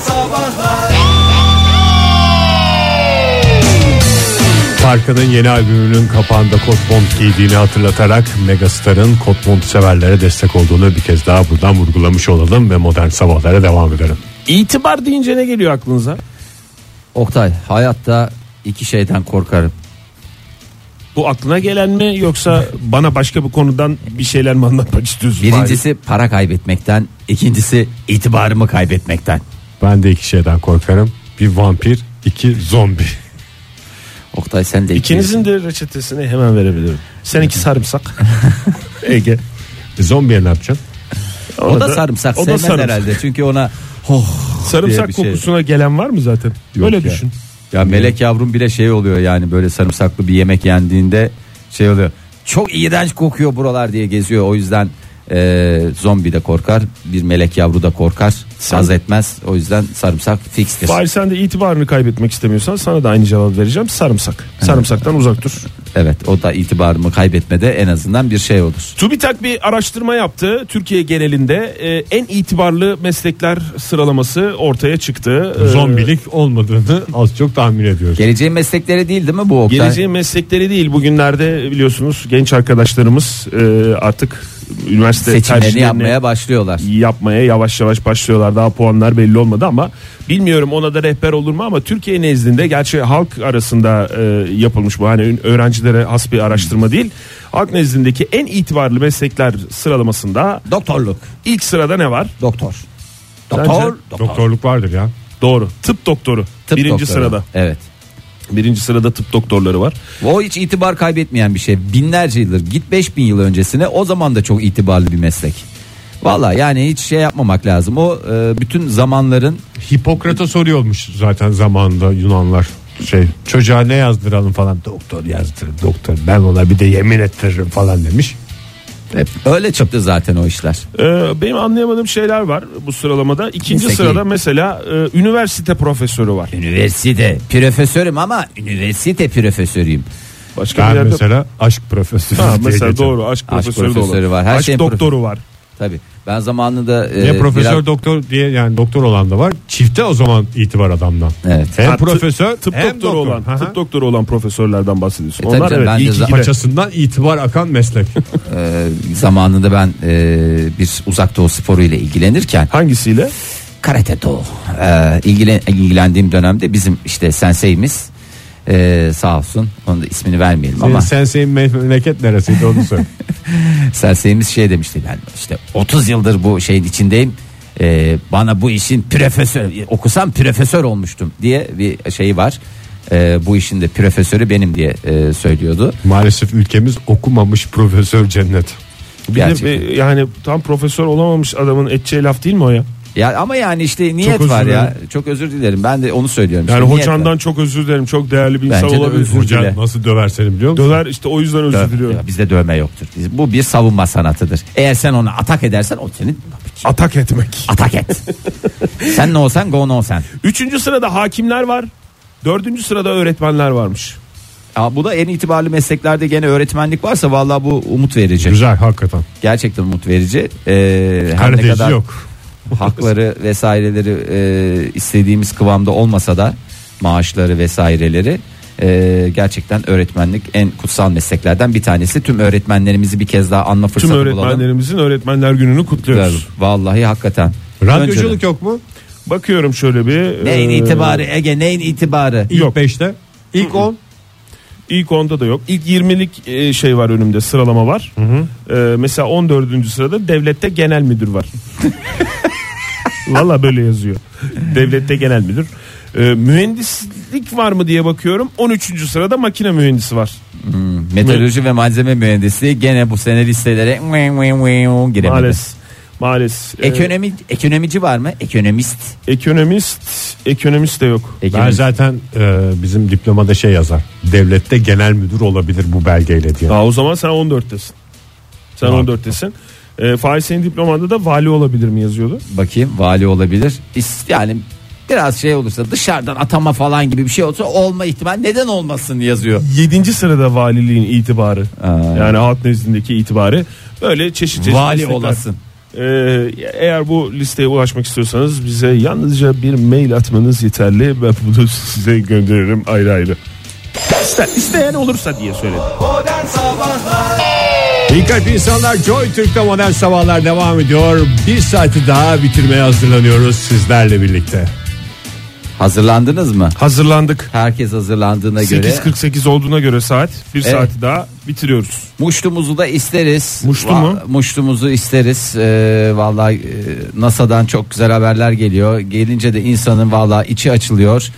Sabahlar Parka'nın yeni albümünün kapağında kot mont giydiğini hatırlatarak Megastar'ın kot mont severlere destek olduğunu bir kez daha buradan vurgulamış olalım ve modern sabahlara devam edelim. İtibar deyince ne geliyor aklınıza? Oktay hayatta iki şeyden korkarım. Bu aklına gelen mi yoksa bana başka bir konudan bir şeyler mi anlatmak istiyorsun? Birincisi para kaybetmekten, ikincisi itibarımı kaybetmekten. Ben de iki şeyden korkarım. Bir vampir, iki zombi. Oktay sen de İkinizin de reçetesini hemen verebilirim. Sen iki sarımsak. Ege. E, zombiye ne yapacaksın? O Orada- da sarımsak o da sevmez sarımsak. herhalde. Çünkü ona oh diye Sarımsak bir şey. kokusuna gelen var mı zaten? Yok Öyle ya. düşün. Ya melek yavrum bile şey oluyor yani böyle sarımsaklı bir yemek yendiğinde şey oluyor. Çok iğrenç kokuyor buralar diye geziyor. O yüzden e, zombi de korkar. Bir melek yavru da korkar. Saz etmez. O yüzden sarımsak fikstir. Fahir sen de itibarını kaybetmek istemiyorsan sana da aynı cevap vereceğim. Sarımsak. Sarımsaktan uzak dur. Evet o da itibarımı kaybetmede en azından bir şey olur. TÜBİTAK bir araştırma yaptı. Türkiye genelinde e, en itibarlı meslekler sıralaması ortaya çıktı. Ee, Zombilik olmadığını az çok tahmin ediyoruz. Geleceğin meslekleri değil değil mi bu Oktay? Geleceğin meslekleri değil bugünlerde biliyorsunuz genç arkadaşlarımız e, artık üniversite Seçimlerini tercihlerini yapmaya başlıyorlar. yapmaya yavaş yavaş başlıyorlar. Daha puanlar belli olmadı ama bilmiyorum ona da rehber olur mu ama Türkiye nezdinde gerçi halk arasında e, yapılmış bu hani öğrencilere has bir araştırma değil. Halk nezdindeki en itibarlı meslekler sıralamasında Doktorluk. ilk sırada ne var? Doktor. Bence- Doktor. Doktorluk vardır ya. Doğru. Tıp doktoru. Tıp birinci doktoru. sırada. Evet. Birinci sırada tıp doktorları var. O hiç itibar kaybetmeyen bir şey. Binlerce yıldır git 5000 yıl öncesine o zaman da çok itibarlı bir meslek. Valla yani hiç şey yapmamak lazım. O e, bütün zamanların Hipokrat'a soruyormuş zaten zamanında Yunanlar şey çocuğa ne yazdıralım falan doktor yazdırır doktor ben ona bir de yemin ettiririm falan demiş. hep öyle çıktı zaten o işler. Ee, benim anlayamadığım şeyler var bu sıralamada. İkinci Mesleki. sırada mesela e, üniversite profesörü var. Üniversite profesörüm ama üniversite profesörüyüm. Başka bir Ben yerde mesela aşk profesörü Ha, diye mesela geçerim. doğru aşk, Aşk profesörü, de profesörü olur. var, her aşk şeyin doktoru var. Tabi ben zamanında e, Ya profesör biraz- doktor diye yani doktor olan da var. Çifte o zaman itibar adamdan. Evet. E, Hem Ha, tıp- profesör tıp hem doktoru doktor. olan, Hı hı. tıp doktoru olan profesörlerden bahsediyorsun. E, tabii Onlar canım, evet ben de iyi ki za- gide. Paçasından itibar akan meslek. e, zamanında ben e, bir uzak doğu sporu ile ilgilenirken Hangisiyle? karate do Ee, ilgilen, ilgilendiğim dönemde bizim işte senseyimiz ee, sağ olsun onun da ismini vermeyelim Senin ama senseyin memleket neresiydi onu söyle. senseyimiz şey demişti ben işte 30 yıldır bu şeyin içindeyim Ee, bana bu işin profesör okusam profesör olmuştum diye bir şey var Ee, bu işin de profesörü benim diye e, söylüyordu Maalesef ülkemiz okumamış profesör cennet. Bir de, gerçekten. e, yani tam profesör olamamış adamın edeceği laf değil mi o ya? ya ama yani işte niyet özür var ya çok özür dilerim ben de onu söylüyorum Yani İşte niyet var. hocandan çok özür dilerim. Çok değerli bir insan Bence de olabilir. özür Hoca- Hocan dile. nasıl döver seni biliyor musun? Döver işte o yüzden özür diliyorum. Ya Bizde dövme yoktur. Biz- Bu bir savunma sanatıdır. Eğer sen ona atak edersen o senin Atak etmek. atak et. sen ne olsan go no sen. Üçüncü sırada hakimler var. Dördüncü sırada öğretmenler varmış. Ya bu da en itibarlı mesleklerde gene öğretmenlik varsa vallahi bu umut verici. Güzel hakikaten. Gerçekten umut verici. Ee, her ne Karadeniz kadar yok. hakları vesaireleri e, istediğimiz kıvamda olmasa da maaşları vesaireleri e, gerçekten öğretmenlik en kutsal mesleklerden bir tanesi. Tüm öğretmenlerimizi bir kez daha anma Tüm fırsatı bulalım. öğretmenlerimizin öğretmenler gününü kutluyoruz. Vallahi hakikaten. Önceden- Radyoculuk yok mu? Bakıyorum şöyle bir. Neyin Ee. e, itibarı Ege neyin itibarı? İlk Yok. 5'te. İlk 10. İlk onda da yok. İlk 20'lik e, şey var önümde sıralama var. E, mesela 14. sırada devlette genel müdür var. Valla böyle yazıyor. Devlette genel müdür. E, mühendislik var mı diye bakıyorum. 13. sırada makine mühendisi var. Meteoroloji ve malzeme mühendisliği gene bu sene listelere giremedi. Maalesef. Maalesef. E, Ekonomi, ekonomici var mı? Ekonomist. ekonomist, ekonomist de yok. Ben Ekonomist. zaten e, bizim diplomada şey yazar. Devlette genel müdür olabilir bu belgeyle diye. Aa, o zaman sen 14'tesin. Sen Tamam. 14'tesin. E, Faiz senin diplomanda da vali olabilir mi yazıyordu? Bakayım vali olabilir. İs- Yani biraz şey olursa dışarıdan atama falan gibi bir şey olsa olma ihtimal neden olmasın yazıyor. 7. sırada valiliğin itibarı. Aa. Yani halk nezdindeki itibarı böyle çeşit çeşit Vali meslekler. olasın. Ee, eğer bu listeye ulaşmak istiyorsanız bize yalnızca bir mail atmanız yeterli. Ben bunu size gönderirim ayrı ayrı. İster, isteyen olursa diye söyledim. Modern Sabahlar İyi kalp insanlar Joy Türk'te modern sabahlar devam ediyor. Bir saati daha bitirmeye hazırlanıyoruz sizlerle birlikte. Hazırlandınız mı? Hazırlandık. Herkes hazırlandığına göre. 8.48 olduğuna göre saat bir Evet. saati daha bitiriyoruz. Muştumuzu da isteriz. Muştu Va- mu? Muştumuzu isteriz. Ee, vallahi e, NASA'dan çok güzel haberler geliyor. Gelince de insanın vallahi içi açılıyor.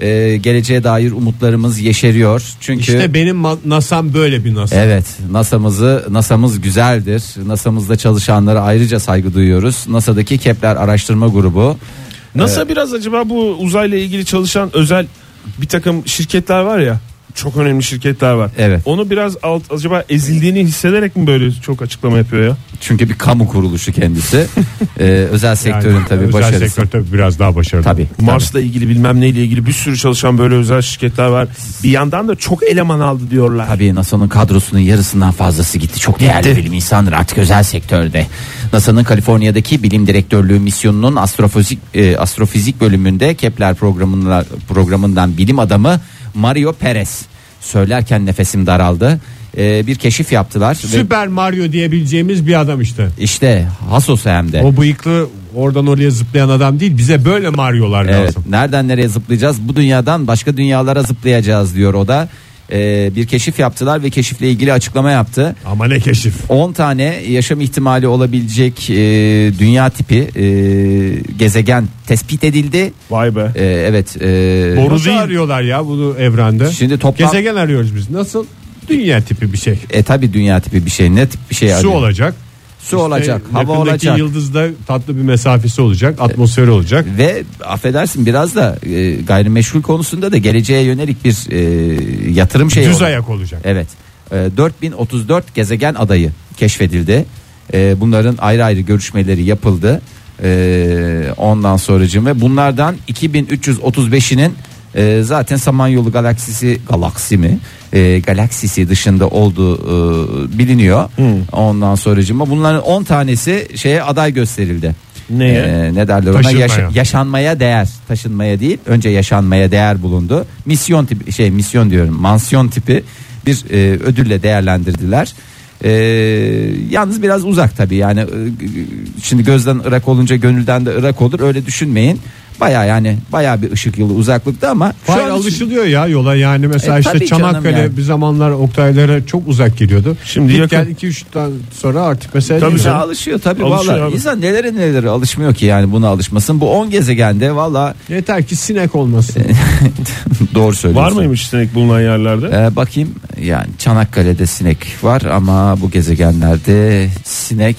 Ee, geleceğe dair umutlarımız yeşeriyor. Çünkü İşte benim ma- NASA'm böyle bir NASA. Evet, NASA'mızı NASA'mız güzeldir. NASA'mızda çalışanlara ayrıca saygı duyuyoruz. NASA'daki Kepler Araştırma Grubu NASA biraz acaba bu uzayla ilgili çalışan özel bir takım şirketler var ya çok önemli şirketler var. Evet. Onu biraz alt, acaba ezildiğini hissederek mi böyle çok açıklama yapıyor ya? çünkü bir kamu kuruluşu kendisi. Ee, özel sektörün Yani tabii özel başarısı. sektör tabii biraz daha başarılı. Tabii. Mars'la ilgili bilmem neyle ilgili bir sürü çalışan böyle özel şirketler var. Bir yandan da çok eleman aldı diyorlar. Tabii NASA'nın kadrosunun yarısından fazlası gitti. Çok değerli bilim insanları artık özel sektörde. NASA'nın Kaliforniya'daki bilim direktörlüğü misyonunun astrofizik e, astrofizik bölümünde Kepler programına, programından bilim adamı Mario Perez söylerken nefesim daraldı. E, bir keşif yaptılar ve Süper Mario diyebileceğimiz bir adam işte. işte Hasos hem de. O bıyıklı oradan oraya zıplayan adam değil bize böyle Mario'lar Evet, lazım. nereden nereye zıplayacağız? Bu dünyadan başka dünyalara zıplayacağız diyor o da. E, bir keşif yaptılar ve keşifle ilgili açıklama yaptı. Ama ne keşif. 10 tane yaşam ihtimali olabilecek e, dünya tipi e, gezegen tespit edildi. Vay be. E, evet. e, Boru Nasıl değil. arıyorlar ya bunu evrende? Şimdi toplam- Gezegen arıyoruz biz. Nasıl? Dünya tipi bir şey. E, e tabi dünya tipi bir şey. Ne tip bir şey? Su arıyor? olacak. Su İşte olacak, hava yakındaki olacak. yıldızda tatlı bir mesafesi olacak. Atmosferi olacak. Ve affedersin biraz da e, gayrimeşgul konusunda da geleceğe yönelik bir e, yatırım şeyi Düz oldu. ayak olacak. Evet. E, 4034 gezegen adayı keşfedildi. E, bunların ayrı ayrı görüşmeleri yapıldı. E, ondan sonracığım ve bunlardan 2335'inin e, zaten Samanyolu galaksisi galaksi mi? E, galaksisi dışında olduğu e, biliniyor. Ondan sonracığıma bunların 10 tanesi şeye aday gösterildi. Neye? E, ne derler ona? Taşınmaya. Yaşa- yaşanmaya değer taşınmaya değil önce yaşanmaya değer bulundu misyon tipi şey misyon diyorum mansiyon tipi bir e, ödülle değerlendirdiler E, yalnız biraz uzak tabii yani e, şimdi gözden ırak olunca gönülden de ırak olur öyle düşünmeyin baya yani baya bir ışık yılı uzaklıkta ama şu Hayır an için- alışılıyor ya yola yani mesela E, işte tabii canım Çanakkale yani. bir zamanlar Oktaylara çok uzak geliyordu. Şimdi Git yakın. gel 2-3'ten sonra artık mesela Tabii değil mi? İnsan canım. alışıyor tabii Alışıyor valla abi. insan nelere nelere alışmıyor ki yani buna alışmasın bu 10 gezegende valla yeter ki sinek olmasın. E, doğru söylüyorsun. Var mıymış sinek bulunan yerlerde? Ee, bakayım yani Çanakkale'de sinek var ama bu gezegenlerde sinek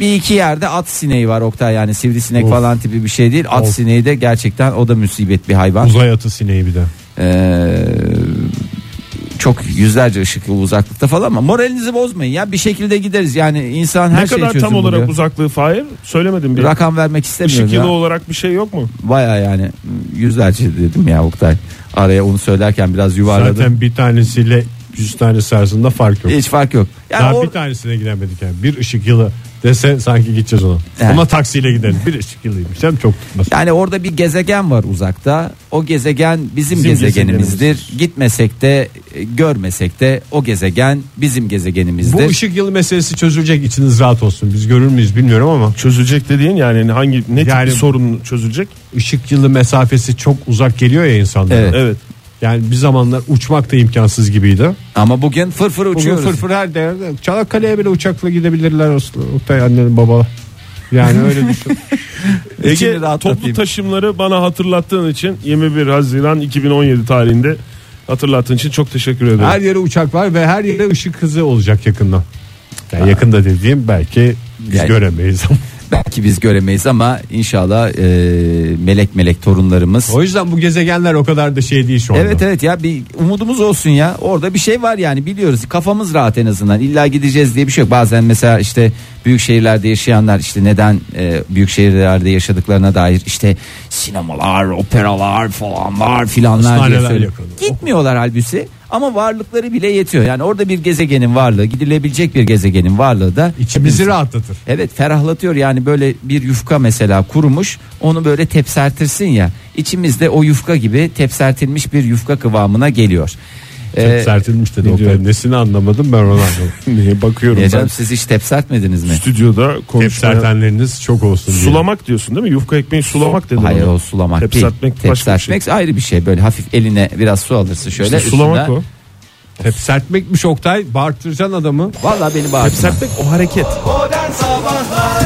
bir iki yerde at sineği var Oktay yani sivrisinek Of. falan tipi bir şey değil at Of. sineği de gerçekten o da müsibet bir hayvan Uzay atı sineği bir de. Ee, çok yüzlerce ışık yılı uzaklıkta falan ama moralinizi bozmayın ya bir şekilde gideriz yani insan her şey ne şeyi kadar çözüm tam olarak buluyor. uzaklığı Fahir? Söylemedim bir. rakam vermek istemiyorum Işık yılı ya. olarak bir şey yok mu? baya yani yüzlerce dedim ya Oktay araya onu söylerken biraz yuvarladım Zaten bir tanesiyle 100 tanesi arasında fark yok. hiç fark yok E, yani Daha or- bir tanesine gidemedik yani. Bir ışık yılı dese sanki gideceğiz ona. Yani. Ama taksiyle gidelim. Bir ışık yılıymış. Hem çok tutmaz. Yani orada bir gezegen var uzakta. O gezegen bizim, Bizim gezegenimizdir. Gitmesek de e, görmesek de o gezegen bizim Bu gezegenimizdir. ışık yılı meselesi çözülecek içiniz rahat olsun. Biz görür müyüz bilmiyorum ama Çözülecek dediğin yani hangi ne tip Yani- bir sorun çözülecek? ışık yılı mesafesi çok uzak geliyor ya insanlara. Evet. Evet. Yani bir zamanlar uçmak da imkansız gibiydi. Ama bugün fırfır Bugün uçuyoruz. fırfır her değerde. Çanakkale'ye bile uçakla gidebilirler aslında. Oktay annenin babalar. Yani öyle düşün. Ege İçini rahatlatayım. toplu taşımları bana hatırlattığın için 21 Haziran 2017 tarihinde hatırlattığın için çok teşekkür ederim. her yere uçak var ve her yere ışık hızı olacak yakında. Yani yakında dediğim belki biz Yani- göremeyiz. Belki biz göremeyiz ama inşallah e, melek melek torunlarımız. o yüzden bu gezegenler o kadar da şey değil şu anda. Evet evet ya bir umudumuz olsun ya. Orada bir şey var yani biliyoruz. Kafamız rahat en azından. İlla gideceğiz diye bir şey yok. Bazen mesela işte büyük şehirlerde yaşayanlar işte neden e, büyük şehirlerde yaşadıklarına dair işte sinemalar, operalar falanlar filanlar diye Hastaneler söylüyor. yakın. Gitmiyorlar halbuki Ama varlıkları bile yetiyor. Yani orada bir gezegenin varlığı, gidilebilecek bir gezegenin varlığı da İçimizi rahatlatır. Evet ferahlatıyor yani böyle bir yufka mesela kurumuş onu böyle tepsertirsin ya içimizde o yufka gibi tepsertilmiş bir yufka kıvamına geliyor. Ee, Sertilmiş dedi. ne diyor? Oktay. Nesini anlamadım ben onu anlamadım. Neye bakıyorum ya ben. canım, siz hiç tepsertmediniz mi? Stüdyoda Hep konuşmaya. sertenleriniz çok olsun diye. Sulamak diyorsun değil mi? Yufka ekmeği sulamak dedin. Hayır ona. o sulamak Tepsertmek değil. başka bir şey. Tepsertmek ayrı bir şey böyle hafif eline biraz su alırsın şöyle. İşte sulamak üstünden- o. Hep sertmekmiş Oktay. Bağırtıracaksın adamı. Vallahi beni bağırtma. Sertmek o hareket. Modern Sabahlar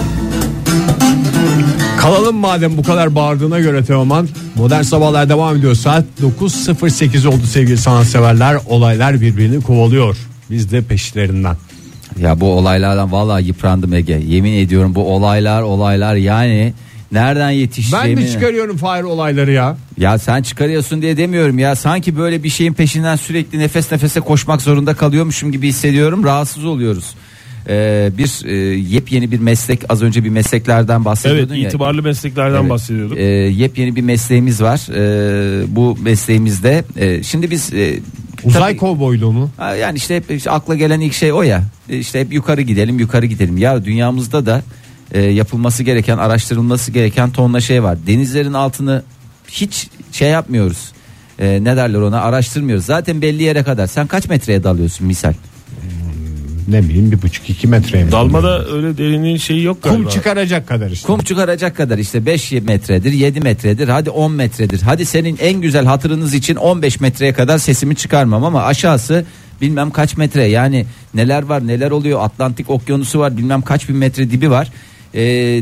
Kalalım madem bu kadar bağırdığına göre Teoman. Modern Sabahlar devam ediyor. Saat 9.08 oldu sevgili sanatseverler. Olaylar birbirini kovalıyor. Biz de peşlerinden. Ya bu olaylardan vallahi yıprandım Ege. Yemin ediyorum bu olaylar olaylar yani nereden Ben yetişeceğimi. mi çıkarıyorum fire olayları ya? Ya sen çıkarıyorsun diye demiyorum ya. Sanki böyle bir şeyin peşinden sürekli nefes nefese koşmak zorunda kalıyormuşum gibi hissediyorum. Rahatsız oluyoruz. Ee, bir e, yepyeni bir meslek az önce bir mesleklerden Evet bahsediyordun ya. itibarlı mesleklerden Evet. bahsediyorduk. Ee, yepyeni bir mesleğimiz var. Ee, bu mesleğimizde e, şimdi biz e, Uzay tabii- kovboyluğu mu? Ha, Yani işte hep işte akla gelen ilk şey o ya. E, İşte hep yukarı gidelim, yukarı gidelim. Ya dünyamızda da e, yapılması gereken, araştırılması gereken tonla şey var. Denizlerin altını hiç şey yapmıyoruz. E, ne derler ona? Araştırmıyoruz. Zaten belli yere kadar. Sen kaç metreye dalıyorsun misal? Ne bileyim bir buçuk iki metreye mi? Dalmada öyle derinin şeyi yok galiba. kum çıkaracak kadar işte. Kum çıkaracak kadar işte 5 metredir, 7 metredir, hadi 10 metredir. Hadi senin en güzel hatırınız için 15 metreye kadar sesimi çıkarmam ama aşağısı bilmem kaç metre. Yani neler var, neler oluyor. Atlantik Okyanusu var, bilmem kaç bin metre dibi var. Ee,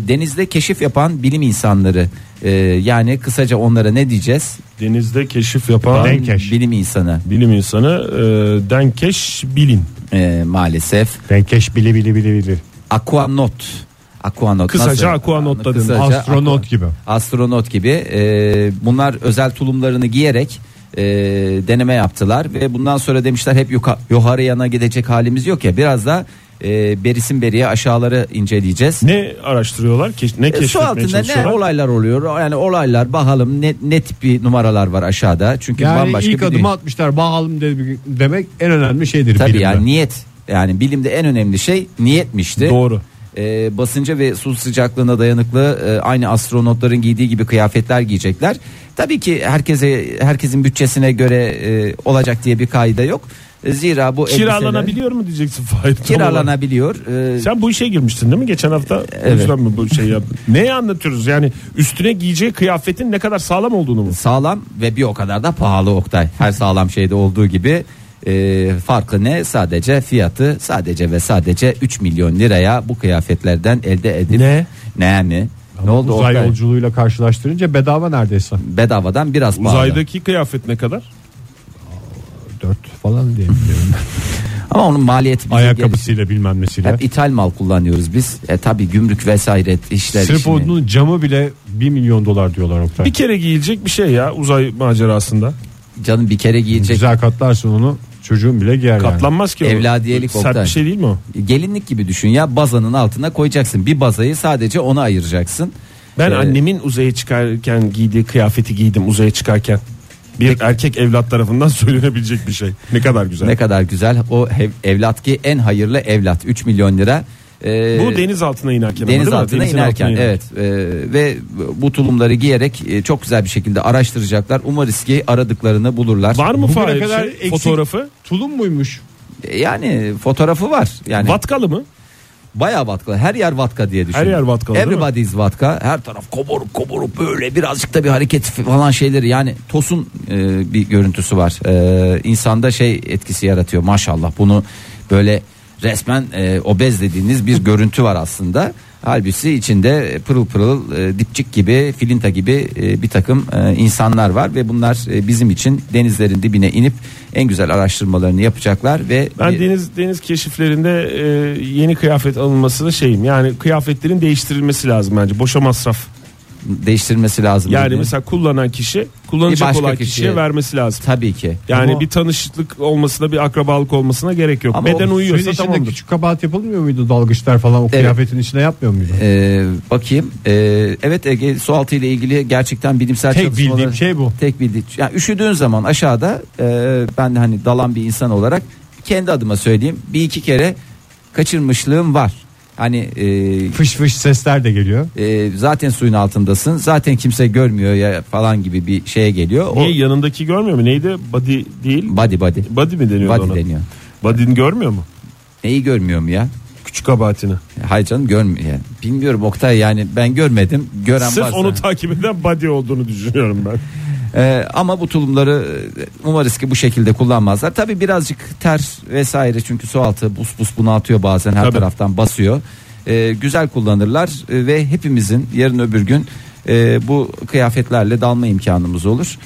denizde keşif yapan bilim insanları Ee, yani kısaca onlara ne diyeceğiz? Denizde keşif yapan Denkeş. Bilim insanı bilim insanı e, Denkeş Bilin. Ee, maalesef. Renkeş bili bili bili bili. Aquanot. Aquanot Kısaca nasıl? aquanot da denir. Kısaca aqua- Astronot gibi. astronot gibi e, bunlar özel tulumlarını giyerek e, deneme yaptılar ve bundan sonra demişler hep yuka- yukarı yana gidecek halimiz yok ya biraz da e, berisin beriye aşağıları inceleyeceğiz. Ne araştırıyorlar? Keş- ne E, Su keşfetmeye altında ne çalışıyorlar? olaylar oluyor yani olaylar bakalım ne, ne tip bir numaralar var aşağıda çünkü Yani bambaşka ilk bir adımı dünya. atmışlar. Bakalım de- demek en önemli şeydir Tabii bilimde. yani niyet. Yani bilimde en önemli şey niyetmişti. Doğru. Ee, basınca ve su sıcaklığına dayanıklı e, aynı astronotların giydiği gibi kıyafetler giyecekler. Tabii ki herkese herkesin bütçesine göre e, olacak diye bir kaide yok. E, Zira bu elbiseler Kiralanabiliyor mu diyeceksin Fahir? Tam olarak. kiralanabiliyor. Ee, Sen bu işe girmiştin değil mi geçen hafta? O Evet. yüzden mi bu şey yaptın? Neyi anlatıyoruz? Yani üstüne giyeceği kıyafetin ne kadar sağlam olduğunu mu? sağlam ve bir o kadar da pahalı Oktay. Her sağlam şeyde olduğu gibi e, farkı ne? Sadece fiyatı sadece ve sadece 3 milyon liraya bu kıyafetlerden elde edip Ne? ne mi? ne oldu Uzay Oktay? yolculuğuyla karşılaştırınca bedava neredeyse. bedavadan biraz pahalı. Uzaydaki kıyafet ne kadar? 4 falan diye biliyorum. Ama onun maliyeti bize gelir. Ayakkabısıyla bilmem nesiyle. Hep ithal mal kullanıyoruz biz. E tabi gümrük vesaire işler Sırf işini. onun camı bile 1 milyon dolar diyorlar Oktay. Bir kere giyilecek bir şey ya uzay macerasında. Canım bir kere giyecek. Güzel katlarsın onu çocuğun bile giyer yani. Katlanmaz ki o. Evladiyelik Sert Oktay. bir şey değil mi o? Gelinlik gibi düşün ya bazanın altına koyacaksın. Bir bazayı sadece ona ayıracaksın. Ben Ee, annemin uzaya çıkarken giydiği kıyafeti giydim uzaya çıkarken. Bir erkek evlat tarafından söylenebilecek bir şey. Ne kadar güzel. Ne kadar güzel o ev- evlat ki en hayırlı evlat 3 milyon lira. Ee, Bu deniz altına inerken. ama deniz değil mi? altına Denizin inerken altına evet Ee, ve bu tulumları giyerek e, çok güzel bir şekilde araştıracaklar. Umarız ki aradıklarını bulurlar. Var mı Bugüne Fahir kadar şey, eksik- fotoğrafı? Tulum muymuş? E, Yani fotoğrafı var. Yani Vatkalı mı? Bayağı vatka. Her yer vatka diye düşün. Her yer vatkalı, değil mi? Everybody is vatka. Her taraf koborup koborup böyle birazcık da bir hareket falan şeyleri. Yani tosun e, bir görüntüsü var. E, insanda şey etkisi yaratıyor maşallah. Bunu böyle resmen e, obez dediğiniz bir görüntü var aslında. Halbuki içinde pırıl pırıl e, dipçik gibi filinta gibi e, bir takım e, insanlar var ve bunlar e, bizim için denizlerin dibine inip en güzel araştırmalarını yapacaklar ve Ben bir- deniz deniz keşiflerinde e, yeni kıyafet alınmasını şeyim. Yani kıyafetlerin değiştirilmesi lazım bence. Boşa masraf. değiştirmesi lazım. Yani dedi. mesela kullanan kişi kullanacak Bir başka olan kişiye- kişiye vermesi lazım. tabii ki. Yani Ama- bir tanışıklık olmasına bir akrabalık olmasına gerek yok. Ama Beden o Suyun uyuyorsa içinde tamamdır. küçük kabahat yapılmıyor muydu dalgıçlar falan o kıyafetin içine yapmıyor muydu? Ee, bakayım. Ee, evet Ege sualtı ile ilgili gerçekten bilimsel Tek çalışmaları- bildiğim şey bu. Tek bildiğim. Yani üşüdüğün zaman aşağıda e, ben de hani dalan bir insan olarak kendi adıma söyleyeyim bir iki kere kaçırmışlığım var. Hani e, Fış fış sesler de geliyor. e, zaten suyun altındasın. Zaten kimse görmüyor ya falan gibi bir şeye geliyor. O Niye yanındaki görmüyor mu? Neydi? Body değil. body body. Body mi deniyor Body ona? deniyor. Body'ni görmüyor mu? Neyi görmüyor mu ya? Küçük kabahatini. Hayır canım görmüyor. Yani Bilmiyorum Oktay yani ben görmedim. Gören Sırf varsa. onu takip eden body olduğunu düşünüyorum ben. Ee, ama bu tulumları e, umarız ki bu şekilde kullanmazlar. Tabii birazcık ter vesaire çünkü su altı bus bus bunu atıyor bazen her Tabii. taraftan basıyor. Ee, güzel kullanırlar e, ve hepimizin yarın öbür gün e, bu kıyafetlerle dalma imkanımız olur.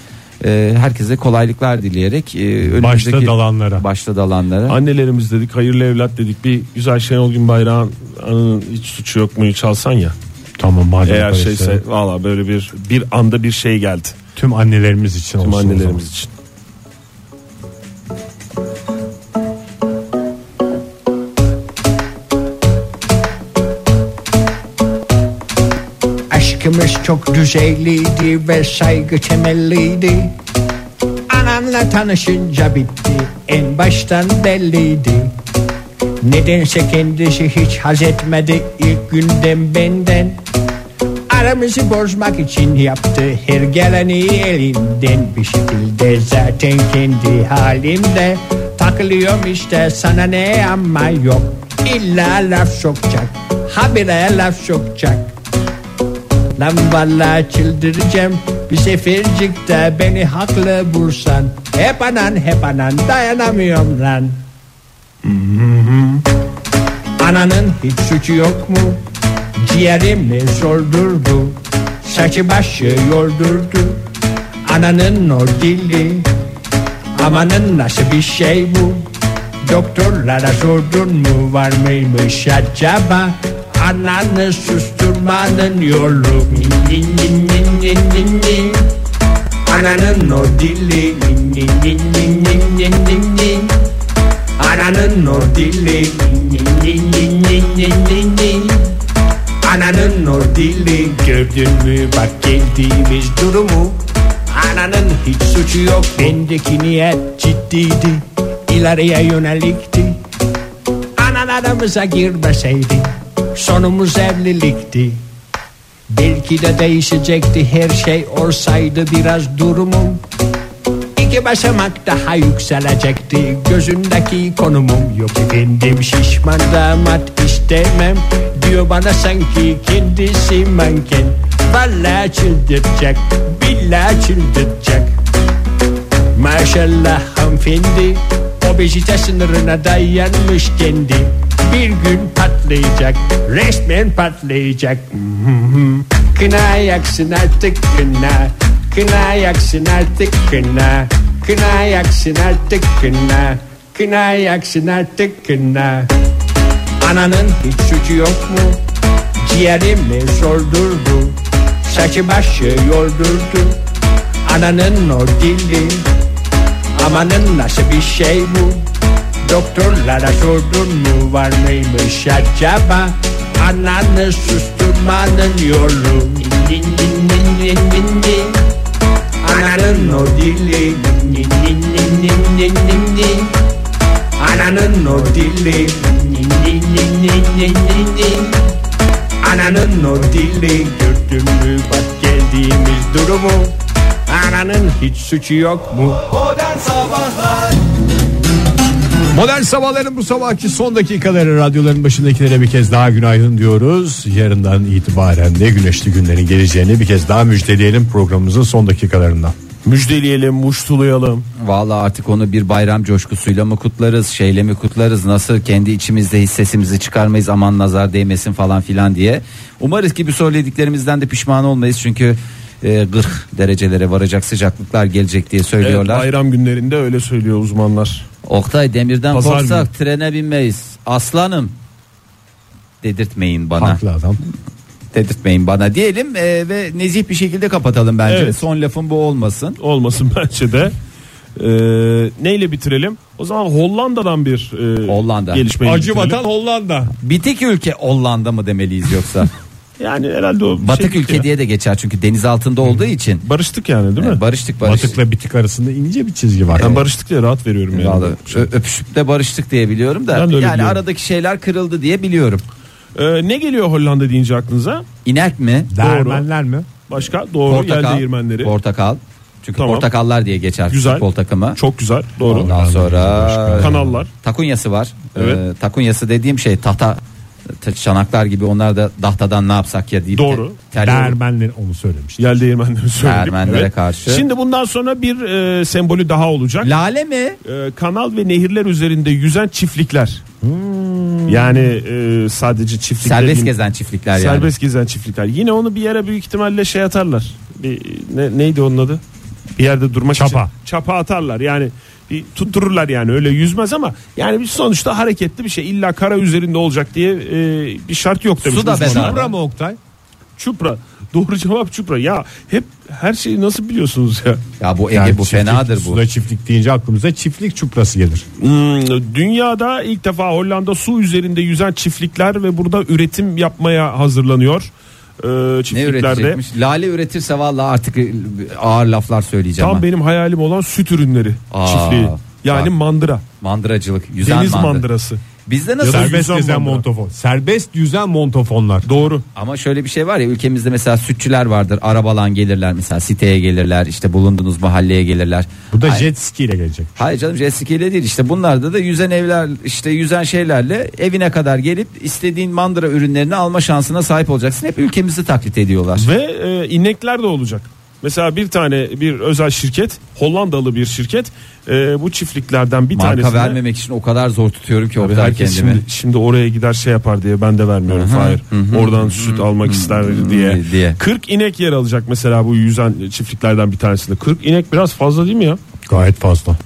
E, herkese kolaylıklar dileyerek e, önümüzdeki Başta dalanlara. başta dalanlara. Annelerimiz dedik hayırlı evlat dedik. Bir güzel Şenol Gün Bayrağı'nın anın hiç suçu yok mu çalsan ya. Tamam madem Eğer öyleyse. şeyse şey. valla böyle bir bir anda bir şey geldi. tüm annelerimiz için Tüm olsun. o zaman. annelerimiz için. Aşkımız çok düzeyliydi ve saygı temelliydi Anamla tanışınca bitti en baştan belliydi Nedense kendisi hiç haz etmedi ilk günden benden Aramızı bozmak için yaptı her geleni elinden Bir şekilde zaten kendi halimde Takılıyorum işte sana ne ama yok İlla laf sokacak habire laf sokacak Lan valla çıldıracağım Bir sefercikte beni haklı bulsan Hep anan hep anan dayanamıyorum lan Ananın hiç suçu yok mu? Ciğerimi soldurdu Saçı başı yoldurdu Ananın o dili Amanın nasıl bir şey bu Doktorlara sordun mu var mıymış acaba Ananı susturmanın yolu Nin, nin, nin, nin, nin, nin. Ananın o dili Nin, nin, nin, nin, nin, nin, nin, nin. Ananın o dili Nin, nin, nin, nin, nin, nin, nin. Ananın o dili Gördün mü bak geldiğimiz durumu Ananın hiç suçu yok Bendeki niyet ciddiydi İleriye yönelikti Anan aramıza girmeseydi Sonumuz evlilikti Belki de değişecekti her şey olsaydı biraz durumum İki basamak daha yükselecekti gözündeki konumum Yok efendim şişman damat istemem Diyor bana sanki kendisi manken Valla çıldıracak billa çıldıracak Maşallah hanımefendi Obezite sınırına dayanmış kendi Bir gün patlayacak Resmen patlayacak Kına yaksın artık kına Kına yaksın artık kına Kına yaksın artık kına Kına yaksın artık kına Ananın hiç suçu yok mu? Ciğerimi soldurdu Saçı başı yoldurdu Ananın o dili Amanın nasıl bir şey bu Doktorlara sordun mu var mıymış acaba Ananı susturmanın yolu Nin, nin, nin, nin, nin, nin. Ananın o dili Nin, nin, nin, nin, nin, nin, nin. Ananın o dili Nin, nin, nin, nin, nin, nin, nin. Ananın o dili Gördün mü bak geldiğimiz durumu Ananın hiç suçu yok mu? Modern Sabahlar Modern sabahların bu sabahki son dakikaları radyoların başındakilere bir kez daha günaydın diyoruz. Yarından itibaren de güneşli günlerin geleceğini bir kez daha müjdeleyelim programımızın son dakikalarında. Müjdeleyelim, muştulayalım. Vallahi artık onu bir bayram coşkusuyla mı kutlarız, şeyle mi kutlarız, nasıl kendi içimizde hissesimizi çıkarmayız aman nazar değmesin falan filan diye. Umarız ki bu söylediklerimizden de pişman olmayız çünkü e, 40 derecelere varacak sıcaklıklar gelecek diye Evet, söylüyorlar. bayram günlerinde öyle söylüyor uzmanlar. Oktay Demir'den Pazar korksak trene binmeyiz. Aslanım dedirtmeyin bana. Haklı adam. Dedirtmeyin bana diyelim e, ve nezih bir şekilde kapatalım bence. Evet. Son lafım bu olmasın. Olmasın bence de. Ee, neyle bitirelim? O zaman Hollanda'dan bir e, Hollanda. gelişmeyi Acı bitirelim. vatan Hollanda. Bitik ülke Hollanda mı demeliyiz yoksa? Yani herhalde o bir Batık şey ülke ya. diye de geçer çünkü deniz altında olduğu için. Barıştık yani değil mi? E, Barıştık barıştık. Batıkla bitik arasında ince bir çizgi Ee, var. ben barıştık diye rahat veriyorum yani. Vallahi ö- öpüşüp de barıştık diye biliyorum da Ben de yani öyle biliyorum. aradaki şeyler kırıldı diye biliyorum. Ee, ne geliyor Hollanda deyince aklınıza? İnek mi? Dermenler mi? Başka doğru portakal. yel değirmenleri. Portakal. Çünkü Tamam. portakallar diye geçer Güzel. futbol takımı. Çok güzel doğru. Ondan sonra Kanallar. Takunyası var. Evet. Ee, takunyası dediğim şey tahta ta- çanaklar gibi onlar da tahtadan ne yapsak ya deyip Doğru. Te, terli- Dermenler onu söylemişti. Yel değirmenleri söyledik. Değirmenlere karşı. Şimdi bundan sonra bir e, sembolü daha olacak. Lale mi? E, kanal ve nehirler üzerinde yüzen çiftlikler. Yani e, sadece çiftlikler. Hmm. Serbest yine- gezen çiftlikler yani. Serbest gezen çiftlikler. Yine onu bir yere büyük ihtimalle şey atarlar. Bir, ne- neydi onun adı? Bir yerde durmak Çapa. için. Çapa atarlar yani. Bir tuttururlar yani öyle yüzmez ama yani bir sonuçta hareketli bir şey. İlla kara üzerinde olacak diye e, bir şart yok demiş. Su da uzmanlar. bedava. Çupra mı Oktay? Çupra. Doğru cevap çupra. Ya hep her şeyi nasıl biliyorsunuz ya? Ya bu Ege Yani bu çiftlik, fenadır bu. Suda çiftlik deyince aklımıza çiftlik çuprası gelir. Hmm, dünyada ilk defa Hollanda su üzerinde yüzen çiftlikler ve burada üretim yapmaya hazırlanıyor. Ee, Ne çiftliklerde. üretecekmiş? Lale üretirse vallahi artık ağır laflar söyleyeceğim. Tam ha. benim hayalim olan süt ürünleri Aa, çiftliği. Yani bak. mandıra. Mandıracılık, yüzen deniz mandıra. mandırası. Bizde Ya nasıl? da Serbest yüzen gezen mandıra. montofon. Serbest yüzen montofonlar. Doğru. Ama şöyle bir şey var ya ülkemizde mesela sütçüler vardır. Arabalan gelirler mesela siteye gelirler. işte bulunduğunuz mahalleye gelirler. Bu da Hayır- jet ski ile gelecek. Hayır canım jet ski ile değil işte bunlarda da yüzen evler işte yüzen şeylerle evine kadar gelip istediğin mandıra ürünlerini alma şansına sahip olacaksın. Hep ülkemizi taklit ediyorlar. Ve e, inekler de olacak. Mesela bir tane bir özel şirket Hollandalı bir şirket e, bu çiftliklerden bir Marka tanesine vermemek için o kadar zor tutuyorum ki Tabii Oktay herkes kendimi. şimdi, şimdi oraya gider şey yapar diye ben de vermiyorum Fahir. Oradan süt almak ister diye. diye. 40 inek yer alacak mesela bu yüzen çiftliklerden bir tanesinde. 40 inek biraz fazla değil mi ya? Gayet fazla.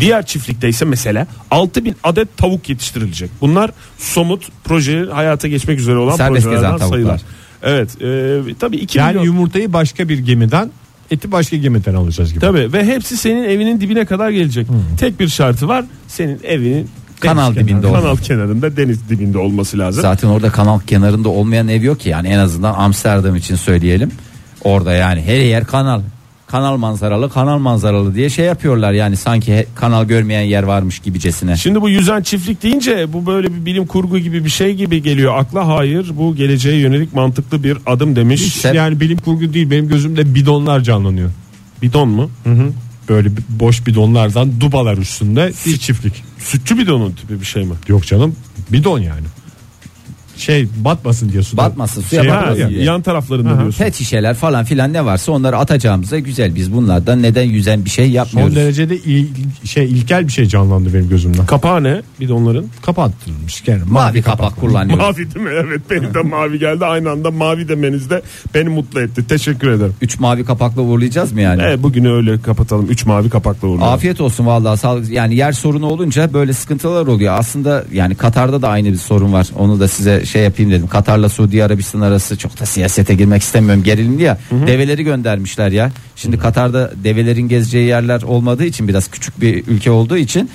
Diğer çiftlikte ise mesela 6000 adet tavuk yetiştirilecek. Bunlar somut proje hayata geçmek üzere olan Serbest gezen projelerden tavuklar. sayılar. Evet, e, tabii 2 Yani milyon. yumurtayı başka bir gemiden, eti başka gemiden alacağız gibi. Tabii ve hepsi senin evinin dibine kadar gelecek. Tek bir şartı var. Senin evinin Hmm. Kanal deniz dibinde kenarı- Kanal olması. kenarında deniz dibinde olması lazım. Zaten orada kanal kenarında olmayan ev yok ki yani en azından Amsterdam için söyleyelim. Orada yani her yer kanal. Kanal manzaralı, kanal manzaralı diye şey yapıyorlar yani sanki he- kanal görmeyen yer varmış gibicesine. Şimdi bu yüzen çiftlik deyince bu böyle bir bilim kurgu gibi bir şey gibi geliyor akla. Hayır bu geleceğe yönelik mantıklı bir adım demiş. Sen- Yani bilim kurgu değil benim gözümde bidonlar canlanıyor. Bidon mu? Böyle bir- boş bidonlardan dubalar üstünde bir çiftlik. Sütçü bidonun tipi bir şey mi? Yok canım bidon yani. Şey batmasın diye suda. Batmasın, suya Şey Ha, batmasın var ya, diye. yan taraflarında diyorsun. Pet şişeler falan filan ne varsa onları atacağımıza güzel biz bunlardan neden yüzen bir şey Son yapmıyoruz. derecede il- şey ilkel bir şey canlandı benim gözümden. Kapağı ne bidonların? Kapattırılmış yani Mavi kapak kullanıyoruz. Mavi değil mi? Evet benim de mavi geldi. Aynı anda mavi demeniz de beni mutlu etti. Teşekkür ederim. Üç mavi kapakla uğurlayacağız mı yani? Evet bugünü öyle kapatalım. 3 mavi kapakla uğurluyorum. Afiyet olsun vallahi sağlık. Yani yer sorunu olunca böyle sıkıntılar oluyor. Aslında yani Katar'da da aynı bir sorun var. Onu da size şey yapayım dedim. Katar'la Suudi Arabistan arası çok da siyasete girmek istemiyorum. Gerilimli ya. Develeri göndermişler ya. Şimdi Katar'da develerin gezeceği yerler olmadığı için biraz küçük bir ülke olduğu için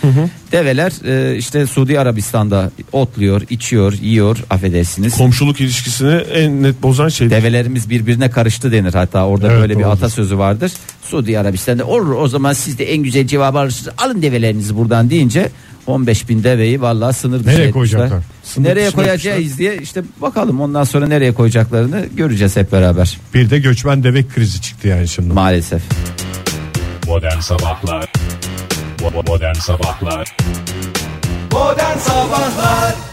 develer e, işte Suudi Arabistan'da otluyor, içiyor, yiyor affedersiniz. Komşuluk ilişkisini en net bozan şey. Develerimiz birbirine karıştı denir hatta orada Evet, böyle bir doğrudur. atasözü vardır. Suudi Arabistan'da olur o zaman siz de en güzel cevabı alırsınız alın develerinizi buradan deyince 15 bin deveyi vallahi sınır dışı Nereye etmişler. koyacaklar? Sınır nereye dışına koyacağız diye işte bakalım ondan sonra nereye koyacaklarını göreceğiz hep beraber Bir de göçmen deve krizi çıktı yani şimdi. maalesef. Modern Sabahlar Bo- bo- Modern Sabahlar Modern Sabahlar